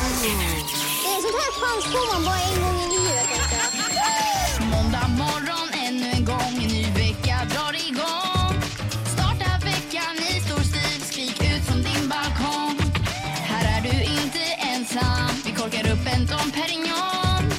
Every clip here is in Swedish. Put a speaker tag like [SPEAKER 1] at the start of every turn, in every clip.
[SPEAKER 1] Det är sånt här chans får man bara en gång i livet. tänker jag.
[SPEAKER 2] Måndag morgon ännu en gång, en ny vecka drar igång. Starta veckan i stor stil, skrik ut från din balkong. Här är du inte ensam, vi korkar upp en Dom Perignon.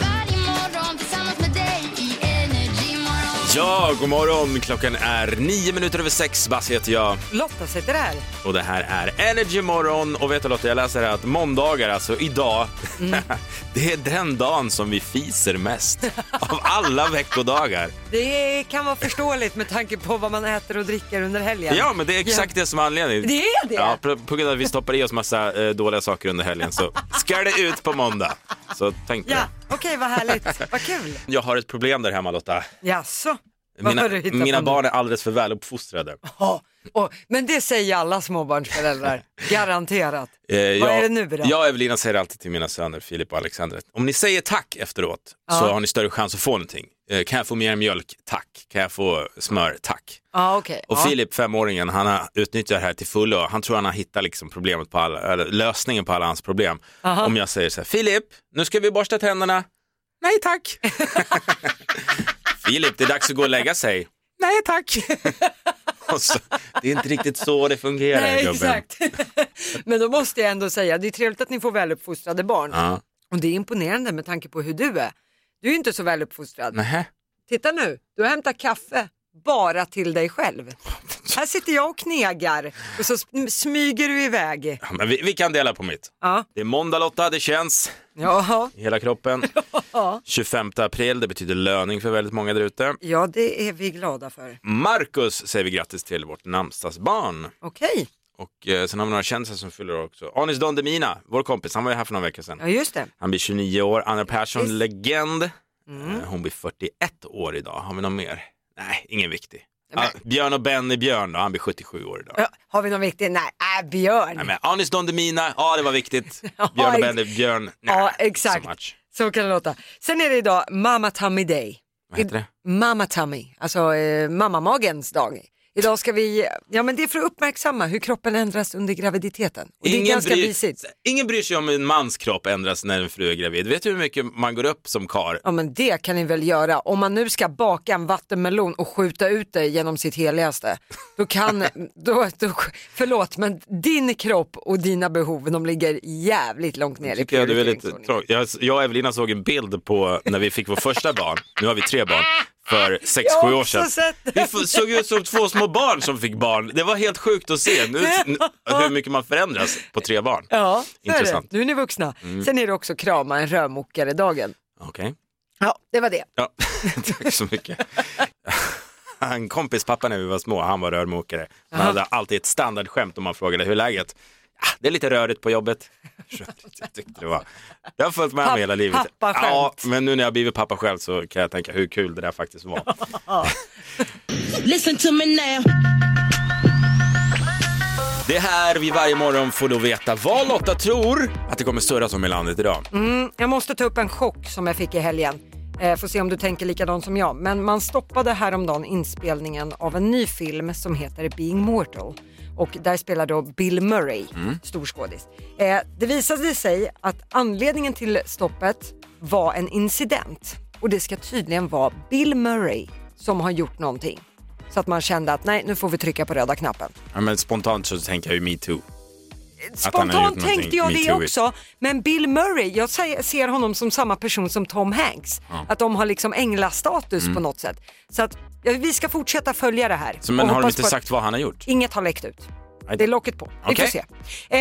[SPEAKER 2] Varje morgon tillsammans med dig i Energy Morgon.
[SPEAKER 3] Ja, god morgon. Klockan är nio minuter över sex. Basse heter jag
[SPEAKER 4] Lotta sitter här.
[SPEAKER 3] och det här är Energy Morgon. Och vet du Lotta, jag läser här att måndagar, alltså idag,
[SPEAKER 4] Mm.
[SPEAKER 3] det är den dagen som vi fiser mest av alla veckodagar.
[SPEAKER 4] Det kan vara förståeligt med tanke på vad man äter och dricker under helgen.
[SPEAKER 3] Ja, men det är exakt det som är anledningen.
[SPEAKER 4] Det är det?
[SPEAKER 3] Ja, på, på grund av att vi stoppar i oss massa eh, dåliga saker under helgen så ska det ut på måndag. Så tänk på
[SPEAKER 4] Ja,
[SPEAKER 3] det.
[SPEAKER 4] okej vad härligt. Vad kul.
[SPEAKER 3] Jag har ett problem där hemma Lotta.
[SPEAKER 4] Jaså? Vad
[SPEAKER 3] Mina,
[SPEAKER 4] har du hittat
[SPEAKER 3] mina
[SPEAKER 4] på
[SPEAKER 3] barn är alldeles för väl uppfostrade.
[SPEAKER 4] nu? Ja, och, men det säger alla småbarnsföräldrar. Garanterat.
[SPEAKER 3] Eh,
[SPEAKER 4] Vad
[SPEAKER 3] jag,
[SPEAKER 4] är det nu då?
[SPEAKER 3] Jag och Evelina säger alltid till mina söner Filip och Alexander, om ni säger tack efteråt så
[SPEAKER 4] Ja.
[SPEAKER 3] har ni större chans att få någonting. Eh, kan jag få mer mjölk? Tack. Kan jag få smör? Tack.
[SPEAKER 4] Ja, okej.
[SPEAKER 3] Och
[SPEAKER 4] ja.
[SPEAKER 3] Filip, femåringen, han har utnyttjat det här till fullo. Han tror han har hittat liksom problemet på alla, eller lösningen på alla hans problem.
[SPEAKER 4] Aha.
[SPEAKER 3] Om jag säger så här, Filip, nu ska vi borsta tänderna. Nej tack. Filip, det är dags att gå och lägga sig. Nej tack. och så, det är inte riktigt så det fungerar
[SPEAKER 4] Nej,
[SPEAKER 3] gubben.
[SPEAKER 4] exakt. men då måste jag ändå säga, det är trevligt att ni får väluppfostrade barn.
[SPEAKER 3] Ja.
[SPEAKER 4] Och det är imponerande med tanke på hur du är. Du är inte så väluppfostrad.
[SPEAKER 3] Nähä.
[SPEAKER 4] Titta nu, du har hämtat kaffe bara till dig själv. Här sitter jag och knegar och så sm- smyger du iväg.
[SPEAKER 3] Ja, Men vi, vi kan dela på mitt.
[SPEAKER 4] Ja,
[SPEAKER 3] Det är måndag Lotta, det känns
[SPEAKER 4] ja,
[SPEAKER 3] i hela kroppen. 25 april, det betyder löning för väldigt många där ute.
[SPEAKER 4] ja det är vi glada för.
[SPEAKER 3] Marcus säger vi grattis till, vårt namnsdagsbarn.
[SPEAKER 4] Okej,
[SPEAKER 3] Och eh, sen har vi några kändisar som fyller år också. Anis Don Demina, vår kompis, han var ju här för några veckor sedan.
[SPEAKER 4] ja just det.
[SPEAKER 3] Han blir 29 år, Anna Persson,
[SPEAKER 4] Visst. Mm.
[SPEAKER 3] legend. Eh, Hon blir 41 år idag, har vi någon mer? Nej, ingen viktig. Ah, Björn och Benny Björn då, han blir 77 år idag.
[SPEAKER 4] Ja, Har vi någon viktig? Nej, äh, Björn.
[SPEAKER 3] Nej, men Anis Don Demina, ja det var viktigt. Björn och
[SPEAKER 4] ex-
[SPEAKER 3] Benny Björn, nej,
[SPEAKER 4] ja,
[SPEAKER 3] so much.
[SPEAKER 4] exakt. Så kan det låta. Sen är det idag Mama Tummy Day.
[SPEAKER 3] Vad heter det?
[SPEAKER 4] Mama Tummy, alltså eh, mammamagens dag. Idag ska vi, ja men det är för att uppmärksamma hur kroppen ändras under graviditeten. Och det är ganska
[SPEAKER 3] bryr,
[SPEAKER 4] mysigt.
[SPEAKER 3] Ingen bryr sig om en mans kropp ändras när en fru är gravid. Vet du hur mycket man går upp som kar?
[SPEAKER 4] Ja men det kan ni väl göra. Om man nu ska baka en vattenmelon och skjuta ut det genom sitt heligaste, då kan, då, då, förlåt men din kropp och dina behov de ligger jävligt långt ner i
[SPEAKER 3] Tycker jag, det är väldigt
[SPEAKER 4] prioriteringsordningen.
[SPEAKER 3] tråkigt. jag, jag och Evelina såg en bild på när vi fick vår första barn, nu har vi tre barn, för sex
[SPEAKER 4] Jag har
[SPEAKER 3] sju år
[SPEAKER 4] också
[SPEAKER 3] sedan.
[SPEAKER 4] sett den.
[SPEAKER 3] Vi f- såg ut som två små barn som fick barn. Det var helt sjukt att se nu, nu, hur mycket man förändras på tre barn.
[SPEAKER 4] Ja, så är det.
[SPEAKER 3] Intressant. Mm.
[SPEAKER 4] Nu är ni vuxna. Sen är det också krama en rörmokare-dagen.
[SPEAKER 3] Okej.
[SPEAKER 4] Ja, det var det.
[SPEAKER 3] Ja, tack så mycket. En kompis pappa när vi var små, han var rörmokare. Han hade alltid ett standardskämt om man frågade hur är läget Ja, det är lite rörigt på jobbet. Rörigt, Jag tyckte det var. Det har följt med mig
[SPEAKER 4] Papp-
[SPEAKER 3] hela livet.
[SPEAKER 4] pappaskämt.
[SPEAKER 3] Ja, men nu när jag har blivit pappa själv så kan jag tänka hur kul det där faktiskt var.
[SPEAKER 5] Listen to me now.
[SPEAKER 3] Det är här vi varje morgon får då veta vad Lotta tror att det kommer störas om i landet idag.
[SPEAKER 5] Mm.
[SPEAKER 4] Jag måste ta upp en chock som jag fick i helgen. Eh, får se om du tänker likadant som jag. Men man stoppade häromdagen inspelningen av en ny film som heter Being Mortal. Och där spelar då Bill Murray, stor skådis. Eh, det visade sig att anledningen till stoppet var en incident. Och det ska tydligen vara Bill Murray som har gjort någonting. Så att man kände att nej, nu får vi trycka på röda knappen.
[SPEAKER 3] Ja, men spontant så tänker jag ju metoo. Att han har gjort
[SPEAKER 4] Spontant
[SPEAKER 3] någonting
[SPEAKER 4] tänkte jag det
[SPEAKER 3] metooigt.
[SPEAKER 4] också, men Bill Murray, jag se- ser honom som samma person som Tom Hanks. Att de har liksom änglastatus på något sätt. Så att ja, vi ska fortsätta följa det här.
[SPEAKER 3] Mm. Så, men
[SPEAKER 4] och
[SPEAKER 3] har de
[SPEAKER 4] hoppas
[SPEAKER 3] inte
[SPEAKER 4] på att
[SPEAKER 3] sagt vad han har gjort?
[SPEAKER 4] Inget har läckt ut.
[SPEAKER 3] Nej.
[SPEAKER 4] Det är locket på. Vi
[SPEAKER 3] Okej.
[SPEAKER 4] får se.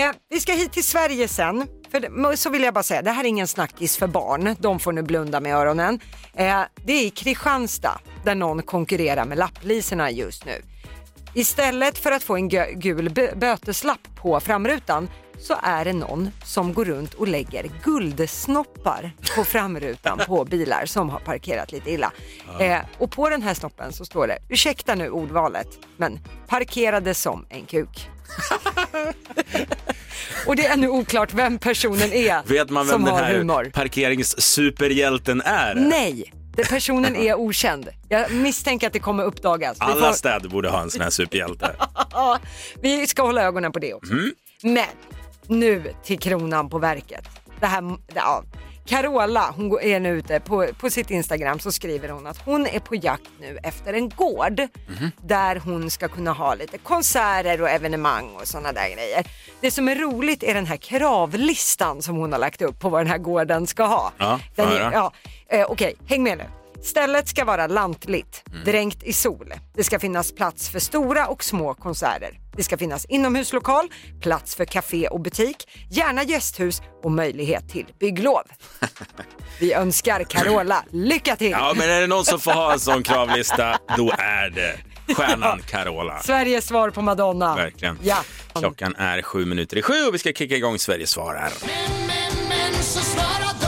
[SPEAKER 4] Eh, vi ska hit till Sverige sen. För det, så vill jag bara säga, det här är ingen snackis för barn. De får nu blunda med öronen. Eh, det är i Kristianstad där någon konkurrerar med lapplisorna just nu. Istället för att få en gö- gul bö- böteslapp på framrutan så är det någon som går runt och lägger guldsnoppar på framrutan på bilar som har parkerat lite illa. Eh, och på den här snoppen så står det, ursäkta nu ordvalet, men parkerade som en kuk. och det är nu oklart vem personen är
[SPEAKER 3] Vet man vem
[SPEAKER 4] som
[SPEAKER 3] den
[SPEAKER 4] har
[SPEAKER 3] här
[SPEAKER 4] humor.
[SPEAKER 3] parkeringssuperhjälten är?
[SPEAKER 4] Nej, den personen är okänd. Jag misstänker att det kommer uppdagas. Vi
[SPEAKER 3] Alla
[SPEAKER 4] får-
[SPEAKER 3] städer borde ha en sån här superhjälte.
[SPEAKER 4] Ja, vi ska hålla ögonen på det också. Men nu till kronan på verket. det här, ja. Carola, hon går- är nu ute på, på sitt Instagram så skriver hon att hon är på jakt nu efter en gård där hon ska kunna ha lite konserter och evenemang och sådana där grejer. Det som är roligt är den här kravlistan som hon har lagt upp på vad den här gården ska ha.
[SPEAKER 3] Ja,
[SPEAKER 4] den
[SPEAKER 3] ja,
[SPEAKER 4] är,
[SPEAKER 3] ja.
[SPEAKER 4] ja, eh, Okej, häng med nu. Stället ska vara lantligt,
[SPEAKER 3] Mm.
[SPEAKER 4] dränkt i sol. Det ska finnas plats för stora och små konserter. Det ska finnas inomhuslokal, plats för café och butik, gärna gästhus och möjlighet till bygglov. Vi önskar Carola lycka till!
[SPEAKER 3] Ja, men är det någon som får ha en sån kravlista, då är det stjärnan Carola.
[SPEAKER 4] Sveriges svar på Madonna.
[SPEAKER 3] Verkligen.
[SPEAKER 4] Ja.
[SPEAKER 3] Klockan är sju minuter i sju och vi ska kicka igång Sverige svarar.
[SPEAKER 2] Men, men, men så svara då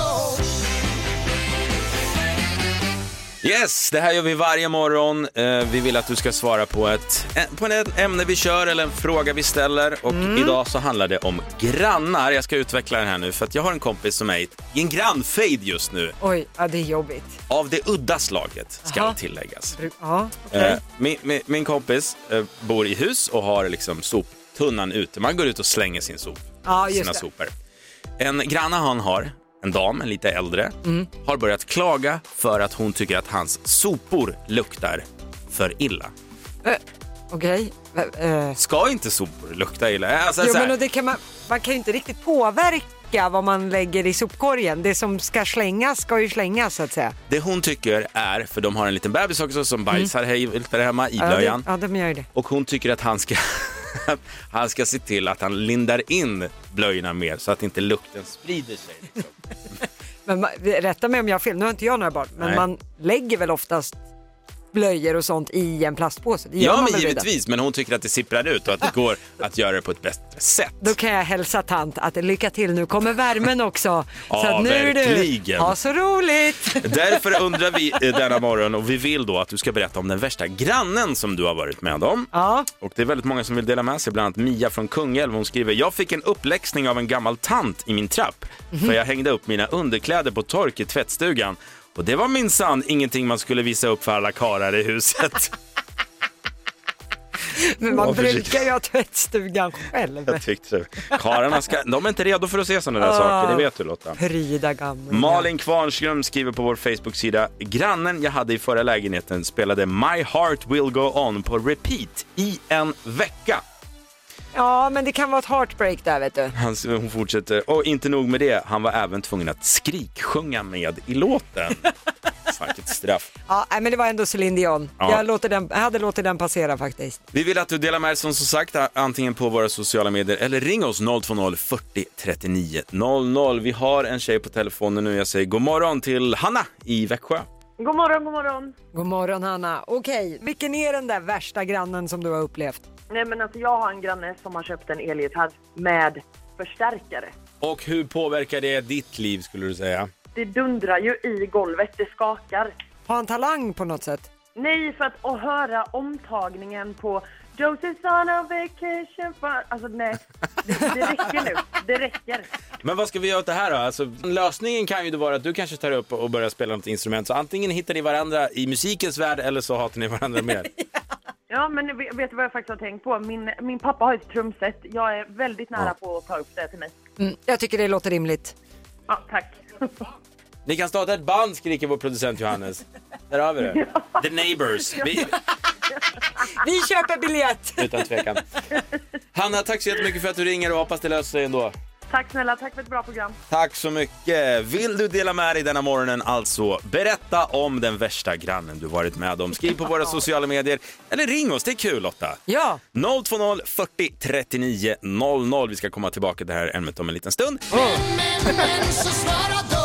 [SPEAKER 3] Yes, det här gör vi varje morgon. Eh, Vi vill att du ska svara på ett eh, på ett ämne vi kör eller en fråga vi ställer. Och
[SPEAKER 4] Mm.
[SPEAKER 3] idag så handlar det om grannar. Jag ska utveckla den här nu för att jag har en kompis som är i en grannfejd just nu.
[SPEAKER 4] Oj, ja, det är jobbigt.
[SPEAKER 3] Av det udda slaget, ska
[SPEAKER 4] Jaha.
[SPEAKER 3] det tilläggas.
[SPEAKER 4] Ja, okej.
[SPEAKER 3] Eh, Min, min, min kompis eh, bor i hus och har liksom soptunnan ute. Man går ut och slänger sin sop,
[SPEAKER 4] Ja, just
[SPEAKER 3] sina
[SPEAKER 4] det.
[SPEAKER 3] sopor. En granne han har, en dam, en lite äldre,
[SPEAKER 4] Mm.
[SPEAKER 3] har börjat klaga för att hon tycker att hans sopor luktar för illa.
[SPEAKER 4] Okej. Eh, eh.
[SPEAKER 3] Ska inte sopor lukta illa? Alltså,
[SPEAKER 4] Jo,
[SPEAKER 3] så här,
[SPEAKER 4] men och det kan man, man kan ju inte riktigt påverka vad man lägger i sopkorgen. Det som ska slängas ska ju slängas så att säga.
[SPEAKER 3] Det hon tycker är, för de har en liten bebis också som bajsar hej där hemma i
[SPEAKER 4] Mm. Ja, det-
[SPEAKER 3] blöjan.
[SPEAKER 4] Ja, de gör ju det.
[SPEAKER 3] Och hon tycker att han ska, han ska se till att han lindar in blöjorna mer så att inte lukten sprider sig. liksom.
[SPEAKER 4] Men man, rätta mig om jag har fel, nu har inte jag några barn, men
[SPEAKER 3] Nej.
[SPEAKER 4] man lägger väl oftast blöjor och sånt i en plastpåse? Det gör
[SPEAKER 3] Ja,
[SPEAKER 4] man
[SPEAKER 3] men
[SPEAKER 4] väl redan?
[SPEAKER 3] givetvis. Men hon tycker att det sipprar ut och att det går att göra det på ett bättre sätt.
[SPEAKER 4] Då kan jag hälsa tant att lycka till, nu kommer värmen också. så
[SPEAKER 3] Ja,
[SPEAKER 4] att nu är du,
[SPEAKER 3] verkligen.
[SPEAKER 4] ha så roligt!
[SPEAKER 3] Därför undrar vi eh, denna morgon och vi vill då att du ska berätta om den värsta grannen som du har varit med om.
[SPEAKER 4] Ja.
[SPEAKER 3] Och det är väldigt många som vill dela med sig, bland annat Mia från Kungälv. Hon skriver, jag fick en uppläxning av en gammal tant i min trapp för jag hängde upp mina underkläder på tork i tvättstugan. Och det var minsann ingenting man skulle visa upp för alla karlar i huset.
[SPEAKER 4] Men man
[SPEAKER 3] Ja, precis.
[SPEAKER 4] brukar ju ha tvättstugan själv.
[SPEAKER 3] Jag tyckte det. Ah. Karlarna ska, de är inte redo för att se sådana där saker, det vet du Lotta.
[SPEAKER 4] Pryda gamlingar.
[SPEAKER 3] Malin Kvarnström skriver på vår Facebook-sida Grannen jag hade i förra lägenheten spelade My Heart Will Go On på repeat i en vecka.
[SPEAKER 4] Ja, men det kan vara ett heartbreak där vet du.
[SPEAKER 3] Han, hon fortsätter, och inte nog med det, han var även tvungen att skriksjunga med i låten. Vilket straff.
[SPEAKER 4] Ja, nej, men det var ändå Céline Dion.
[SPEAKER 3] Ja.
[SPEAKER 4] Jag, låter den, jag hade låtit den passera faktiskt.
[SPEAKER 3] Vi vill att du delar med dig som, som sagt antingen på våra sociala medier eller ring oss 020 40 39 00. Vi har en tjej på telefonen nu. Jag säger god morgon till Hanna i Växjö.
[SPEAKER 6] God morgon, god morgon.
[SPEAKER 4] God morgon Hanna. Okej, vilken är den där värsta grannen som du har upplevt?
[SPEAKER 6] Nej men alltså jag har en granne som har köpt en elgitarr med förstärkare.
[SPEAKER 3] Och hur påverkar det ditt liv skulle du säga?
[SPEAKER 6] Det dundrar ju i golvet, det skakar.
[SPEAKER 4] Har han talang på något sätt?
[SPEAKER 6] Nej, för att, att höra omtagningen på Joseph's on a vacation for... Alltså nej, det, det räcker nu. Det räcker.
[SPEAKER 3] Men vad ska vi göra åt det här då? Alltså, lösningen kan ju då vara att du kanske tar upp och börjar spela något instrument. Så antingen hittar ni varandra i musikens värld eller så hatar ni varandra mer.
[SPEAKER 6] Ja, men vet vet du vad jag faktiskt har tänkt på? Min, min pappa har ett trumset. Jag är väldigt nära på att ta upp det till mig.
[SPEAKER 4] Mm, jag tycker det låter rimligt.
[SPEAKER 6] Ja, tack.
[SPEAKER 3] Ni kan starta ett band skriker vår producent Johannes. Där har vi det. The Neighbors. Vi,
[SPEAKER 4] Vi köper biljett!
[SPEAKER 3] utan tvekan. Hanna, tack så jättemycket för att du ringer och hoppas det löser sig ändå.
[SPEAKER 6] Tack snälla, tack för ett bra program.
[SPEAKER 3] Tack så mycket. Vill du dela med dig denna morgonen alltså, berätta om den värsta grannen du varit med om. Skriv på våra sociala medier eller ring oss, det är kul Lotta.
[SPEAKER 4] Ja,
[SPEAKER 3] 020 40 39 00. Vi ska komma tillbaka till det här ämnet om en liten stund.
[SPEAKER 2] Men, men så svara då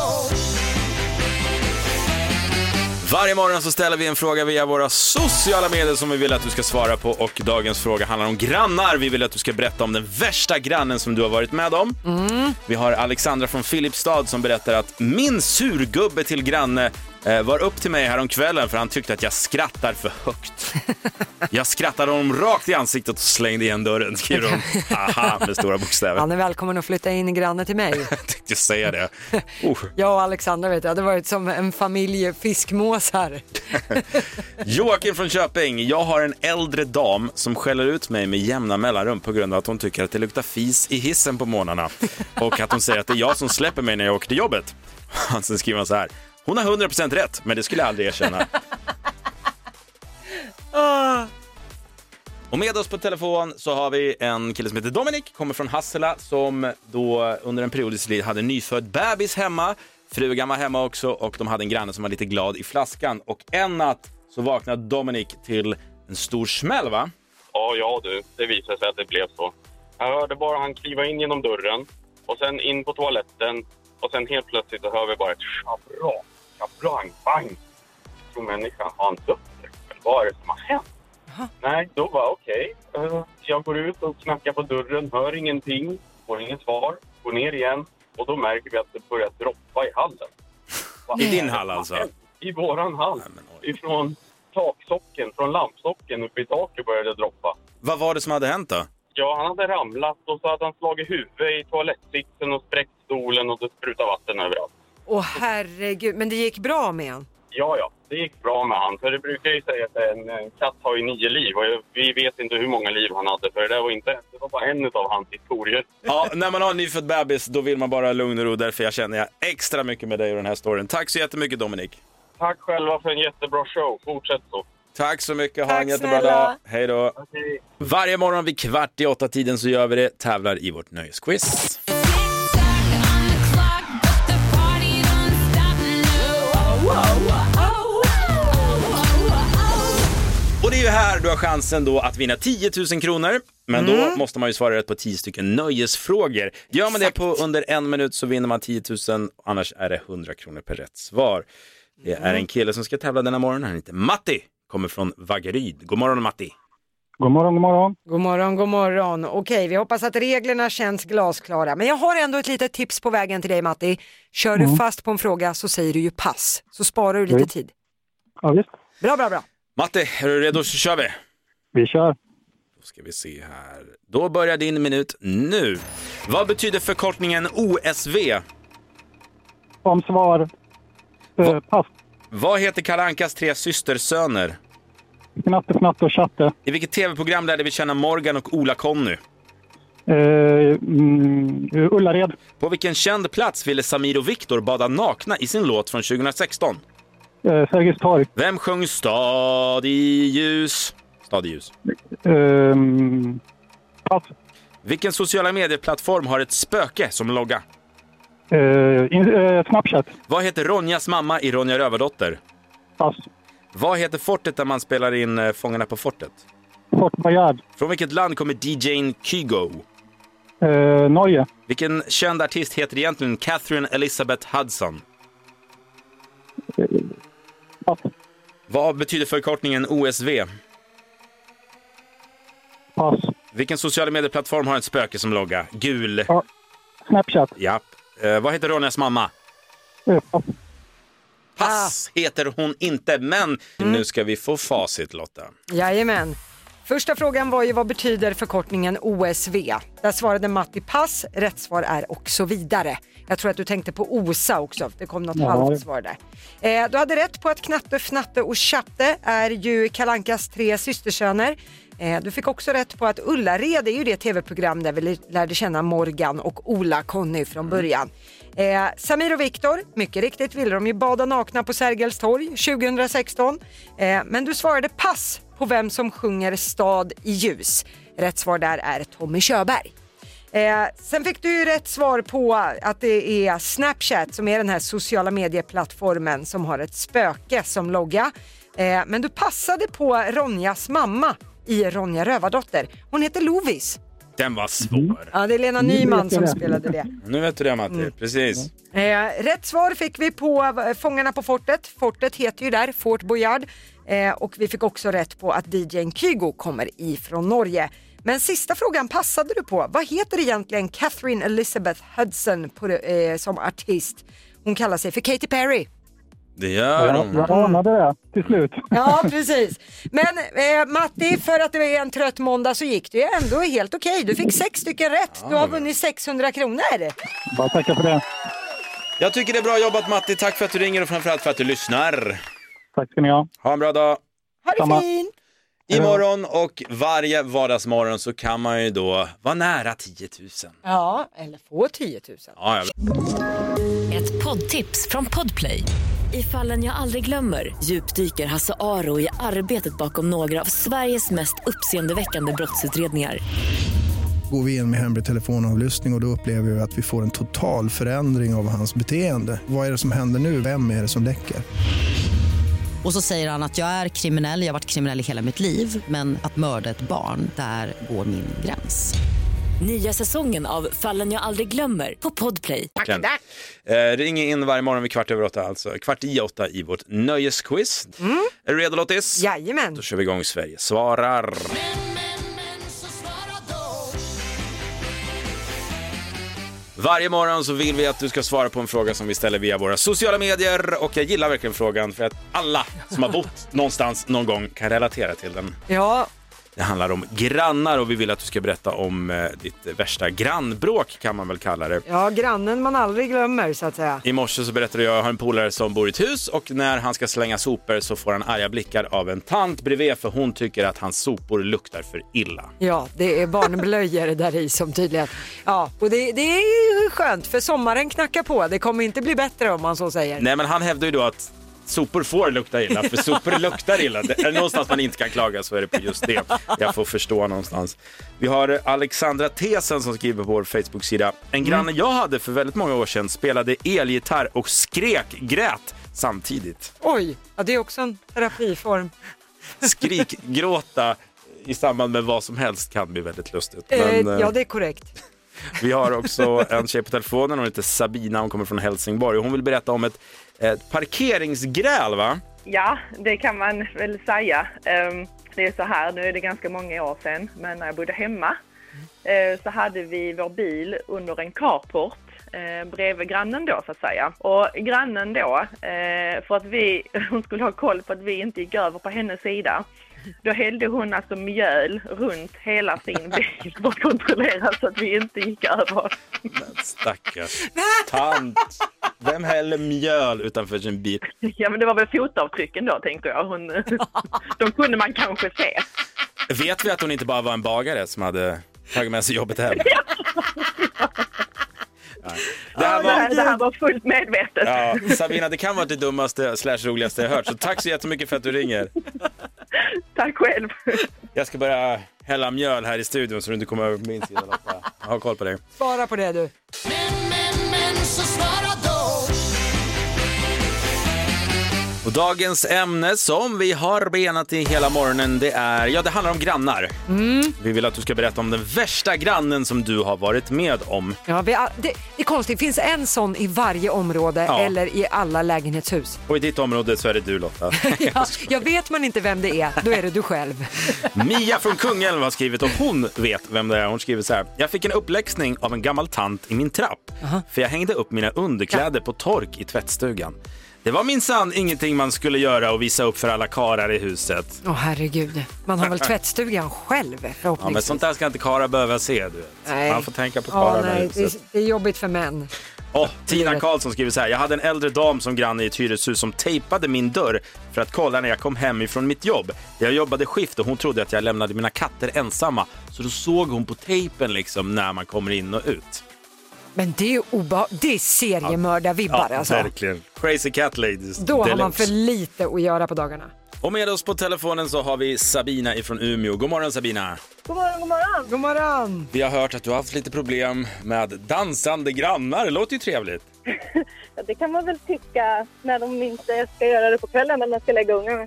[SPEAKER 3] Varje morgon så ställer vi en fråga via våra sociala medier som vi vill att du ska svara på och dagens fråga handlar om grannar. Vi vill att du ska berätta om den värsta grannen som du har varit med om. Vi har Alexandra från Filipstad som berättar att min surgubbe till granne eh, var upp till mig häromkvällen för han tyckte att jag skrattar för högt. Jag skrattade honom rakt i ansiktet och slängde igen dörren, skriver hon. Aha, med stora bokstäver.
[SPEAKER 4] han är välkommen att flytta in granne till mig.
[SPEAKER 3] faktiskt säga det. Oh.
[SPEAKER 4] Jag och Alexandra vet jag, det hade varit som en familj fiskmåsar.
[SPEAKER 3] Joakim från Köping, jag har en äldre dam som skäller ut mig med jämna mellanrum på grund av att hon tycker att det luktar fis i hissen på morgnarna och att hon säger att det är jag som släpper mig när jag åker till jobbet. Och sen skriver han så här, hon har 100% rätt, men det skulle jag aldrig erkänna. Och med oss på telefon så har vi en kille som heter Dominik, kommer från Hassela, som då under en period i sitt liv hade en nyfödd bebis hemma. Frugan var hemma också och de hade en granne som var lite glad i flaskan. Och en natt så vaknade Dominik till en stor smäll va?
[SPEAKER 7] Ja, ja du. Det visade sig att det blev så. Jag hörde bara han kliva in genom dörren och sen in på toaletten och sen helt plötsligt så hör vi bara ett schabrak, schablang, bang. Jag tror människan, har han dött? Eller Vad är det som har hänt? Nej, då var okej. Eh, Jag går ut och knackar på dörren, hör ingenting, får inget svar, går ner igen och då märker vi att det börjar droppa i hallen. Vad
[SPEAKER 3] I
[SPEAKER 7] är
[SPEAKER 3] din
[SPEAKER 7] det
[SPEAKER 3] hall
[SPEAKER 7] som
[SPEAKER 3] alltså?
[SPEAKER 7] har hänt? I våran hall.
[SPEAKER 3] men oj.
[SPEAKER 7] Ifrån taksocken, från lampsocken uppe i taket började det droppa.
[SPEAKER 3] Vad var det som hade hänt då?
[SPEAKER 7] Ja, han hade ramlat och så hade han slagit huvudet i toalettsitsen och spräckt stolen och det sprutade vatten överallt.
[SPEAKER 4] Åh herregud, men det gick bra med honom.
[SPEAKER 7] Ja, ja, det gick bra med han. För det brukar ju säga att en, en katt har ju nio liv och jag- vi vet inte hur många liv han hade för det där var inte det var bara en av hans historier.
[SPEAKER 3] Ja, när man har en nyfödd bebis då vill man bara ha lugn och ro. Därför jag känner jag extra mycket med dig och den här storyn. Tack så jättemycket Dominik.
[SPEAKER 7] Tack själva för en jättebra show. Fortsätt så.
[SPEAKER 3] Tack så mycket, ha
[SPEAKER 4] Tack
[SPEAKER 3] en jättebra
[SPEAKER 4] snälla.
[SPEAKER 3] dag. Hej då.
[SPEAKER 7] Hej.
[SPEAKER 3] Varje morgon vid kvart i åtta tiden så gör vi det, tävlar i vårt nöjesquiz. Och det är ju här du har chansen då att vinna 10 000 kronor. Men då måste man ju svara rätt på 10 stycken nöjesfrågor. Gör man det på under en minut så vinner man 10 000, annars är det 100 kronor per rätt svar. Det är en kille som ska tävla denna morgon, han heter Matti, kommer från Vaggeryd. God morgon Matti!
[SPEAKER 8] God morgon, god morgon.
[SPEAKER 4] God morgon, god morgon. Okej, vi hoppas att reglerna känns glasklara. Men jag har ändå ett litet tips på vägen till dig Matti. Kör du fast på en fråga så säger du ju pass, så sparar du lite tid.
[SPEAKER 8] Ja, visst.
[SPEAKER 4] Bra, bra, bra.
[SPEAKER 3] Matti, är du redo så kör vi!
[SPEAKER 8] Vi kör.
[SPEAKER 3] Då ska vi se här. Då börjar din minut nu. Vad betyder förkortningen OSV?
[SPEAKER 8] Om svar. Eh, pass.
[SPEAKER 3] Vad heter Kalle Ankas tre systersöner?
[SPEAKER 8] Knatte, knatte och chatte.
[SPEAKER 3] I vilket tv-program lärde vi känna Morgan och Ola-Conny?
[SPEAKER 8] Eh, mm, Ullared.
[SPEAKER 3] På vilken känd plats ville Samir och Viktor bada nakna i sin låt från 2016?
[SPEAKER 8] Eh, Sergels torg.
[SPEAKER 3] Vem sjöng Stad i ljus? Stad i ljus.
[SPEAKER 8] Eh, pass.
[SPEAKER 3] Vilken sociala medieplattform har ett spöke som logga?
[SPEAKER 8] Eh, in, eh, Snapchat.
[SPEAKER 3] Vad heter Ronjas mamma i Ronja Rövardotter?
[SPEAKER 8] Pass.
[SPEAKER 3] Vad heter fortet där man spelar in eh, Fångarna på fortet?
[SPEAKER 8] Fort Boyard.
[SPEAKER 3] Från vilket land kommer DJn Kygo?
[SPEAKER 8] Eh, Norge.
[SPEAKER 3] Vilken känd artist heter egentligen Catherine Elizabeth Hudson?
[SPEAKER 8] Pass.
[SPEAKER 3] Vad betyder förkortningen OSV?
[SPEAKER 8] Pass.
[SPEAKER 3] Vilken sociala medieplattform har en spöke som logga? Gul.
[SPEAKER 8] Ja. Snapchat.
[SPEAKER 3] Ja. Eh, vad heter Ronjas mamma?
[SPEAKER 8] Eh, pass.
[SPEAKER 3] Pass heter hon inte, men nu ska vi få facit Lotta.
[SPEAKER 4] Jajamän. Första frågan var ju vad betyder förkortningen OSV? Där svarade Matti pass, rätt svar är och så vidare. Jag tror att du tänkte på OSA också, det kom något
[SPEAKER 8] Ja.
[SPEAKER 4] halvt svar där. Eh, du hade rätt på att Knatte, Fnatte och Tjatte är ju Kalankas tre systersöner. Eh, du fick också rätt på att Ullared är ju det tv-program där vi li- lärde känna Morgan och Ola-Conny från början. Eh, Samir och Viktor, mycket riktigt ville de ju bada nakna på Sergels torg 2016. Eh, men du svarade pass på vem som sjunger Stad i ljus. Rätt svar där är Tommy Körberg. Eh, sen fick du ju rätt svar på att det är Snapchat som är den här sociala medieplattformen som har ett spöke som logga. Eh, men du passade på Ronjas mamma i Ronja Rövardotter. Hon heter Lovis.
[SPEAKER 3] Den var svår.
[SPEAKER 4] Ja, det är Lena Nyman
[SPEAKER 8] vet jag
[SPEAKER 4] som
[SPEAKER 8] det.
[SPEAKER 4] spelade det.
[SPEAKER 3] Nu vet du det Matti, precis.
[SPEAKER 4] Eh, rätt svar fick vi på eh, Fångarna på fortet. Fortet heter ju där Fort Boyard. Eh, och vi fick också rätt på att DJn Kygo kommer ifrån Norge. Men sista frågan passade du på. Vad heter egentligen Catherine Elizabeth Hudson på, det- eh, som artist? Hon kallar sig för Katy Perry.
[SPEAKER 3] Det gör
[SPEAKER 8] Jag,
[SPEAKER 3] de.
[SPEAKER 8] jag anade det till slut.
[SPEAKER 4] Ja, precis. Men eh, Matti, för att det var en trött måndag så gick det ju ändå helt okej. Du fick sex stycken rätt. Du har vunnit 600 kronor.
[SPEAKER 8] Bara tacka för det.
[SPEAKER 3] Jag tycker det är bra jobbat Matti. Tack för att du ringer och framförallt för att du lyssnar.
[SPEAKER 8] Tack ska ni ha.
[SPEAKER 3] Ha en bra dag.
[SPEAKER 4] Ha det
[SPEAKER 8] Samma.
[SPEAKER 4] fint!
[SPEAKER 3] Imorgon och varje vardagsmorgon så kan man ju då vara nära 10 000.
[SPEAKER 4] Ja, eller få 10 000.
[SPEAKER 3] Ja, jag...
[SPEAKER 9] Ett poddtips från Podplay. I fallen jag aldrig glömmer djupdyker Hasse Aro i arbetet bakom några av Sveriges mest uppseendeväckande brottsutredningar.
[SPEAKER 10] Går vi in med hemlig telefonavlyssning och, och då upplever vi att vi får en total förändring av hans beteende. Vad är det som händer nu? Vem är det som läcker?
[SPEAKER 5] Och så säger han att jag är kriminell, jag har varit kriminell i hela mitt liv men att mörda ett barn, där går min gräns.
[SPEAKER 9] Nya säsongen av Fallen jag aldrig glömmer på Podplay.
[SPEAKER 3] Verkligen. Eh, ring in varje morgon vid kvart över åtta, alltså kvart i åtta i vårt nöjesquiz. Är du redo Lottis?
[SPEAKER 4] Jajamän.
[SPEAKER 3] Då kör vi igång Sverige svarar. Varje morgon så vill vi att du ska svara på en fråga som vi ställer via våra sociala medier och jag gillar verkligen frågan för att alla som har bott någonstans någon gång kan relatera till den.
[SPEAKER 4] Ja,
[SPEAKER 3] Det handlar om grannar och vi vill att du ska berätta om eh, ditt värsta grannbråk kan man väl kalla det.
[SPEAKER 4] ja, grannen man aldrig glömmer så att säga.
[SPEAKER 3] I morse så berättade jag, jag har en polare som bor i ett hus och när han ska slänga sopor så får han arga blickar av en tant bredvid för hon tycker att hans sopor luktar för illa.
[SPEAKER 4] Ja, det är barnblöjor där i som tydligen. Ja, och det, det är ju skönt för sommaren knackar på. Det kommer inte bli bättre om man så säger.
[SPEAKER 3] Nej men han hävdar ju då att sopor får lukta illa för sopor luktar illa. Det är någonstans man inte kan klaga så är det på just det. Jag får förstå någonstans. Vi har Alexandra Tesen som skriver på vår Facebook-sida. En granne jag hade för väldigt många år sedan spelade elgitarr och skrek, grät samtidigt.
[SPEAKER 4] Oj, ja, det är också en terapiform.
[SPEAKER 3] Skrikgråta i samband med vad som helst kan bli väldigt lustigt. Men,
[SPEAKER 4] eh,
[SPEAKER 3] eh,
[SPEAKER 4] ja, det är korrekt.
[SPEAKER 3] Vi har också en tjej på telefonen, hon heter Sabina, hon kommer från Helsingborg. Hon vill berätta om ett, ett parkeringsgräl va?
[SPEAKER 6] Ja, det kan man väl säga. Ehm, Det är så här, nu är det ganska många år sedan, men när jag bodde hemma eh, så hade vi vår bil under en carport eh, bredvid grannen då så att säga. Och grannen då, eh, för att vi, hon skulle ha koll på att vi inte gick över på hennes sida, då hällde hon alltså mjöl runt hela sin bil för att kontrollera så att vi inte gick över.
[SPEAKER 3] Stackars tant. Vem häller mjöl utanför sin bil?
[SPEAKER 6] Ja men det var väl fotavtrycken då tänker jag. Hon, de kunde man kanske se.
[SPEAKER 3] Vet vi att hon inte bara var en bagare som hade tagit med sig jobbet hem? Nej. Det här
[SPEAKER 6] det, här,
[SPEAKER 3] var...
[SPEAKER 6] det här var fullt medvetet.
[SPEAKER 3] Ja, Sabina, det kan vara det dummaste slash roligaste jag hört, så tack så jättemycket för att du ringer.
[SPEAKER 6] Tack själv.
[SPEAKER 3] Jag ska börja hälla mjöl här i studion så du inte kommer över på min sida Lotta. Jag har koll på dig.
[SPEAKER 4] Svara på det du.
[SPEAKER 3] Och dagens ämne som vi har benat i hela morgonen det är, ja det handlar om grannar. Vi vill att du ska berätta om den värsta grannen som du har varit med om.
[SPEAKER 4] Ja, vi, all- det, det är konstigt, det finns en sån i varje område
[SPEAKER 3] Ja.
[SPEAKER 4] eller i alla lägenhetshus.
[SPEAKER 3] Och i ditt område så är det du Lotta.
[SPEAKER 4] Ja, jag vet man inte vem det är, då är det du själv.
[SPEAKER 3] Mia från Kungälv har skrivit och hon vet vem det är. Hon skriver så här. Jag fick en uppläxning av en gammal tant i min trapp för jag hängde upp mina underkläder på tork i tvättstugan. Det var minsann ingenting man skulle göra och visa upp för alla karar i huset.
[SPEAKER 4] Åh herregud, man har väl tvättstugan själv förhoppningsvis.
[SPEAKER 3] Ja, men sånt där ska inte karar behöva se. Du vet. Man får tänka på
[SPEAKER 4] ja,
[SPEAKER 3] kararna i
[SPEAKER 4] nej,
[SPEAKER 3] huset.
[SPEAKER 4] det, är, det är jobbigt för män.
[SPEAKER 3] Åh, Tina Karlsson skriver så här. Jag hade en äldre dam som granne i ett hyreshus som tejpade min dörr för att kolla när jag kom hem ifrån mitt jobb. Jag jobbade skift och hon trodde att jag lämnade mina katter ensamma. Så då såg hon på tejpen liksom när man kommer in och ut.
[SPEAKER 4] Men det är ju obeha- det är seriemördarvibbar alltså.
[SPEAKER 3] verkligen. Crazy cat ladies.
[SPEAKER 4] Då har man
[SPEAKER 3] deluxe.
[SPEAKER 4] för lite att göra på dagarna.
[SPEAKER 3] Och med oss på telefonen så har vi Sabina ifrån Umeå. God morgon Sabina.
[SPEAKER 6] God morgon, god morgon.
[SPEAKER 4] God morgon!
[SPEAKER 3] Vi har hört att du har haft lite problem med dansande grannar. Det låter ju trevligt.
[SPEAKER 6] Ja, det kan man väl tycka när de inte ska göra det på kvällen när man ska lägga ungarna.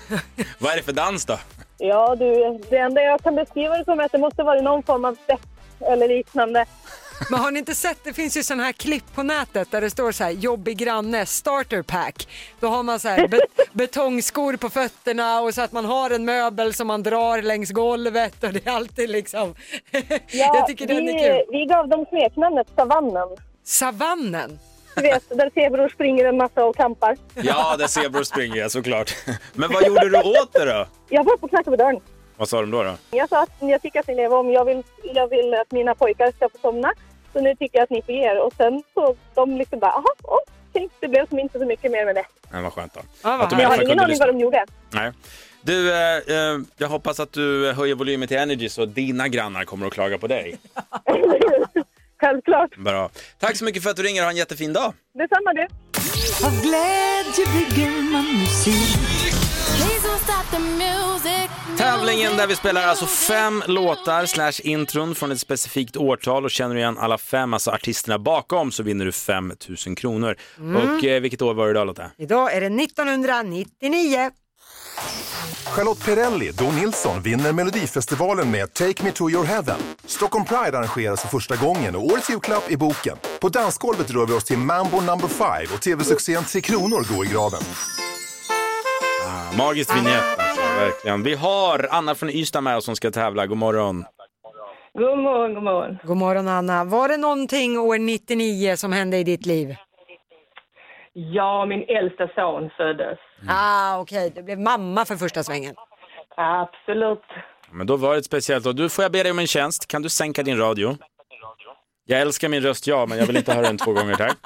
[SPEAKER 3] Vad är det för dans då?
[SPEAKER 6] Ja, du, det enda jag kan beskriva det som är att det måste vara någon form av sex eller liknande.
[SPEAKER 4] Men har ni inte sett, det finns ju sådana här klipp på nätet där det står så här jobbig granne, starter pack. Då har man så här be- betongskor på fötterna och så att man har en möbel som man drar längs golvet och det är alltid liksom. Jag tycker
[SPEAKER 6] vi,
[SPEAKER 4] den är kul.
[SPEAKER 6] vi gav dem smeknamnet Savannen.
[SPEAKER 4] Savannen.
[SPEAKER 11] Du vet, där zebror springer en massa och kampar.
[SPEAKER 3] Ja, där zebror springer jag såklart. Men vad gjorde du åt det då?
[SPEAKER 11] Jag var uppe och knackade på dörren.
[SPEAKER 3] Vad sa de då? då?
[SPEAKER 11] Jag sa att jag tycker att ni lever om. Jag vill, jag vill att mina pojkar ska få somna. Så nu tycker jag att ni får ge er. Och sen så de liksom bara, jaha, okej. Det blev som inte så mycket mer med det.
[SPEAKER 3] Nej, vad skönt då.
[SPEAKER 11] Men
[SPEAKER 3] Att de i
[SPEAKER 11] jag
[SPEAKER 3] alla
[SPEAKER 11] har
[SPEAKER 3] fall
[SPEAKER 11] ingen
[SPEAKER 3] kunde
[SPEAKER 11] aning
[SPEAKER 3] lyssna.
[SPEAKER 11] vad de gjorde.
[SPEAKER 3] Nej. Du, eh, eh, jag hoppas att du höjer volymen till Energy så dina grannar kommer att klaga på dig.
[SPEAKER 11] Självklart.
[SPEAKER 3] Bra. Tack så mycket för att du ringer och ha en jättefin dag.
[SPEAKER 11] Detsamma du.
[SPEAKER 12] Av glädje bygger man musik.
[SPEAKER 3] Tävlingen där vi spelar alltså fem låtar slash intron från ett specifikt årtal och känner du igen alla fem, alltså artisterna bakom, så vinner du 5 000 kronor.
[SPEAKER 4] Mm.
[SPEAKER 3] Och eh, vilket år var det idag Lotta?
[SPEAKER 4] Idag är det 1999.
[SPEAKER 13] Charlotte Perrelli, Don Nilsson, vinner Melodifestivalen med Take Me To Your Heaven. Stockholm Pride arrangeras för första gången och årets julklapp är boken. På dansgolvet rör vi oss till Mambo Number Five och tv-succén Tre Kronor går i graven.
[SPEAKER 3] Ah, magiskt vinjett alltså, verkligen. Vi har Anna från Ystad med oss som ska tävla, god morgon.
[SPEAKER 4] God morgon, god morgon. God morgon Anna. Var det någonting år 99 som hände i ditt liv?
[SPEAKER 14] Ja, min äldsta son föddes.
[SPEAKER 4] Ah, okej. Du blev mamma för första svängen.
[SPEAKER 14] Absolut.
[SPEAKER 3] Ja, Men då var det ett speciellt år. Du, får jag be dig om en tjänst? Kan du sänka din radio? Jag älskar min röst ja, men jag vill inte höra den två gånger tack.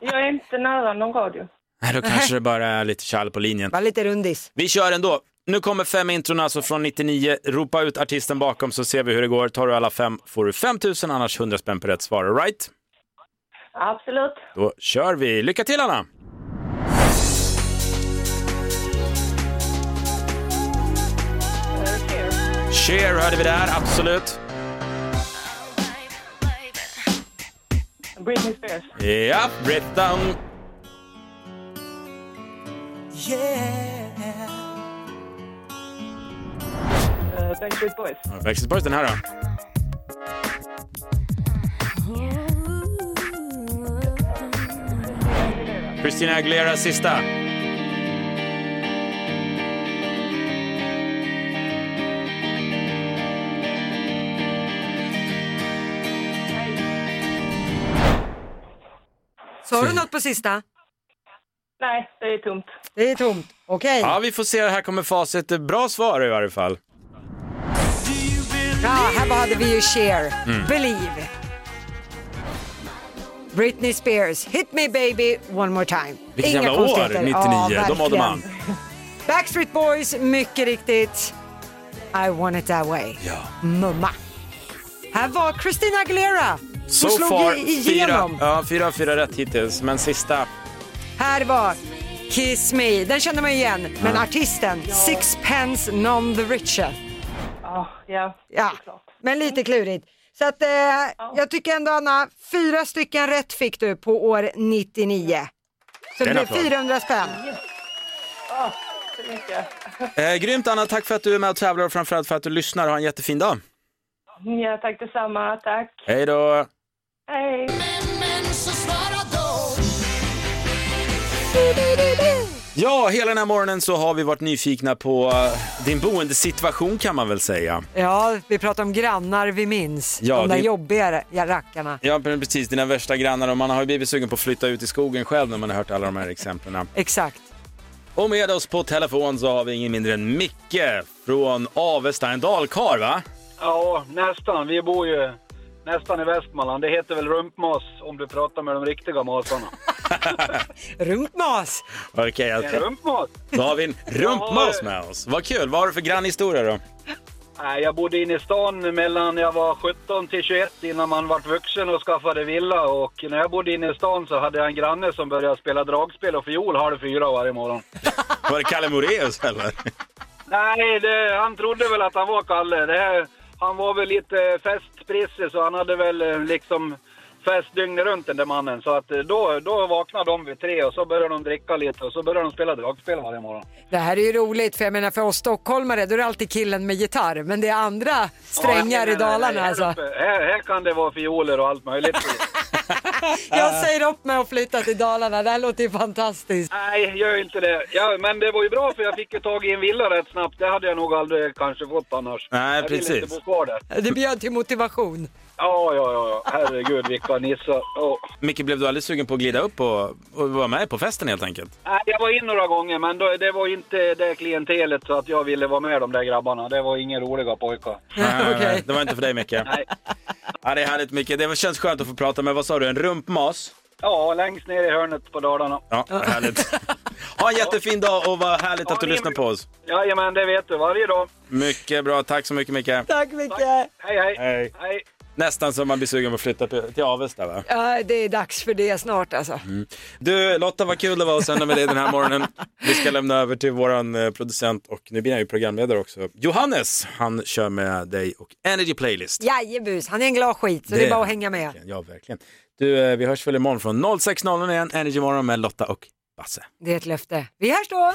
[SPEAKER 14] Jag är inte nära någon radio.
[SPEAKER 3] Nej, då kanske det bara är lite kall på linjen.
[SPEAKER 4] Var lite rundis.
[SPEAKER 3] Vi kör ändå. Nu kommer fem intron alltså från 99. Ropa ut artisten bakom så ser vi hur det går. Tar du alla fem får du 5 000, annars 100 spänn per rätt svar. All right?
[SPEAKER 14] Absolut.
[SPEAKER 3] Då kör vi. Lycka till Anna! Cher hörde vi där, absolut.
[SPEAKER 14] Britney Spears.
[SPEAKER 3] Ja, Brit down.
[SPEAKER 14] Uh, Backstreet Boys.
[SPEAKER 3] Backstreet Boys den här då. Christina Aguilera sista.
[SPEAKER 4] Sa du något på sista?
[SPEAKER 14] Nej, det är tomt.
[SPEAKER 4] Det är tomt. Okej.
[SPEAKER 3] Ja, vi får se. Här kommer facit. Bra svar i varje fall.
[SPEAKER 4] Ja, här hade vi ju Cher.
[SPEAKER 3] Mm.
[SPEAKER 4] Believe. Britney Spears, Hit Me Baby One More Time.
[SPEAKER 3] Vilket jävla år, 99.
[SPEAKER 4] Ja,
[SPEAKER 3] Då mådde man.
[SPEAKER 4] verkligen. Backstreet Boys, mycket riktigt. I want it that way. Mumma. Här var Christina Aguilera. Hon
[SPEAKER 3] So
[SPEAKER 4] slog
[SPEAKER 3] far,
[SPEAKER 4] i-
[SPEAKER 3] fyra,
[SPEAKER 4] igenom.
[SPEAKER 3] ja, fyra av fyra rätt hittills. Men sista.
[SPEAKER 4] Här var Kiss Me. Den känner man ju igen. Men artisten, Sixpence None the Richer.
[SPEAKER 14] Ja,
[SPEAKER 4] Ja, men lite klurigt. Så att, eh, jag tycker ändå Anna, fyra stycken rätt fick du på år 99. Så det
[SPEAKER 3] Den
[SPEAKER 4] blev
[SPEAKER 3] applåd.
[SPEAKER 4] 400 spänn.
[SPEAKER 14] Åh, så mycket.
[SPEAKER 3] Eh, grymt Anna, tack för att du är med och tävlar och framförallt för att du lyssnar. Ha en jättefin dag.
[SPEAKER 14] Ja, tack detsamma. Tack.
[SPEAKER 3] Hej då!
[SPEAKER 14] Hej.
[SPEAKER 3] Ja, hela den här morgonen så har vi varit nyfikna på eh, din boendesituation kan man väl säga.
[SPEAKER 4] Ja, vi pratar om grannar vi minns.
[SPEAKER 3] Ja,
[SPEAKER 4] De där
[SPEAKER 3] det-
[SPEAKER 4] jobbiga ja, rackarna.
[SPEAKER 3] Ja, men precis, dina värsta grannar och man har ju blivit sugen på att flytta ut i skogen själv när man har hört alla de här exemplen.
[SPEAKER 4] Exakt.
[SPEAKER 3] Och med oss på telefon så har vi ingen mindre än Micke från Avesta, en dalkarl va?
[SPEAKER 7] Ja, nästan. Vi bor ju nästan i Västmanland. Det heter väl rumpmas om du pratar med de riktiga masarna.
[SPEAKER 4] Rumpmas!
[SPEAKER 3] Okej, alltså.
[SPEAKER 7] rumpmas?
[SPEAKER 3] då har vi en rumpmas med oss. Vad kul, vad har du för grannhistoria då?
[SPEAKER 7] Nej, jag bodde inne i stan mellan jag var 17 till 21 innan man vart vuxen och skaffade villa. Och när jag bodde inne i stan så hade jag en granne som började spela dragspel och fiol halv fyra varje morgon.
[SPEAKER 3] Var det Kalle Moraeus eller?
[SPEAKER 7] Nej, det, han trodde väl att han var Kalle. Det, här- han var väl lite festprisse så han hade väl eh, liksom fest dygnet runt den där mannen. Så att eh, då, då vaknade de vid tre och så började de dricka lite och så började de spela dragspel varje morgon.
[SPEAKER 4] Det här är ju roligt, för jag menar för oss stockholmare då är det alltid killen med gitarr, men det är andra
[SPEAKER 7] Ja,
[SPEAKER 4] strängar i
[SPEAKER 7] nej,
[SPEAKER 4] Dalarna
[SPEAKER 7] nej, nej, här
[SPEAKER 4] alltså.
[SPEAKER 7] uppe- Här, här kan det vara fioler och allt möjligt.
[SPEAKER 4] Jag säger upp mig och flyttar till Dalarna, det här låter ju fantastiskt.
[SPEAKER 7] Nej, gör inte det. Ja, men det var ju bra för jag fick ju tag i en villa rätt snabbt. Det hade jag nog aldrig kanske fått annars.
[SPEAKER 3] Nej,
[SPEAKER 7] jag ville
[SPEAKER 3] precis.
[SPEAKER 7] inte bo kvar där.
[SPEAKER 4] Det bjöd till motivation.
[SPEAKER 7] Ja, ja, ja, ja. herregud vilka nissar. Ja.
[SPEAKER 3] Micke, blev du aldrig sugen på att glida upp och, och vara med på festen helt enkelt?
[SPEAKER 7] Nej, jag var in några gånger, men då, det var inte det klientelet så att jag ville vara med de där grabbarna. Det var inga roliga pojkar.
[SPEAKER 3] Nej, nej, nej. Det var inte för dig Micke. Nej. Ja, det är härligt Micke. Det känns skönt att få prata med, vad sa du, en rumpmas?
[SPEAKER 7] Ja, längst ner i hörnet på Dalarna.
[SPEAKER 3] Ja, härligt. Ha en jättefin dag och vad härligt att du lyssnar på oss.
[SPEAKER 7] Jajamän, det vet du. Varje dag.
[SPEAKER 3] Mycket bra. Tack så mycket Micke.
[SPEAKER 4] Tack mycket.
[SPEAKER 7] Hej, hej.
[SPEAKER 3] Hej.
[SPEAKER 7] hej.
[SPEAKER 3] Nästan som man blir sugen på att flytta till till Avesta va?
[SPEAKER 4] Ja, det är dags för det snart alltså.
[SPEAKER 3] Du Lotta, vad kul det var att sända med dig den här morgonen. Vi ska lämna över till våran eh, producent och nu blir han ju programledare också. Johannes, han kör med dig och Energy Playlist.
[SPEAKER 4] Jajebus, han är en glad skit så det,
[SPEAKER 3] Det
[SPEAKER 4] är bara att
[SPEAKER 3] är
[SPEAKER 4] hänga med.
[SPEAKER 3] Ja, verkligen. Du, eh, vi hörs väl imorgon från 06.00 igen, Energy Morgon med Lotta och Basse.
[SPEAKER 4] Det är ett löfte. Vi hörs då!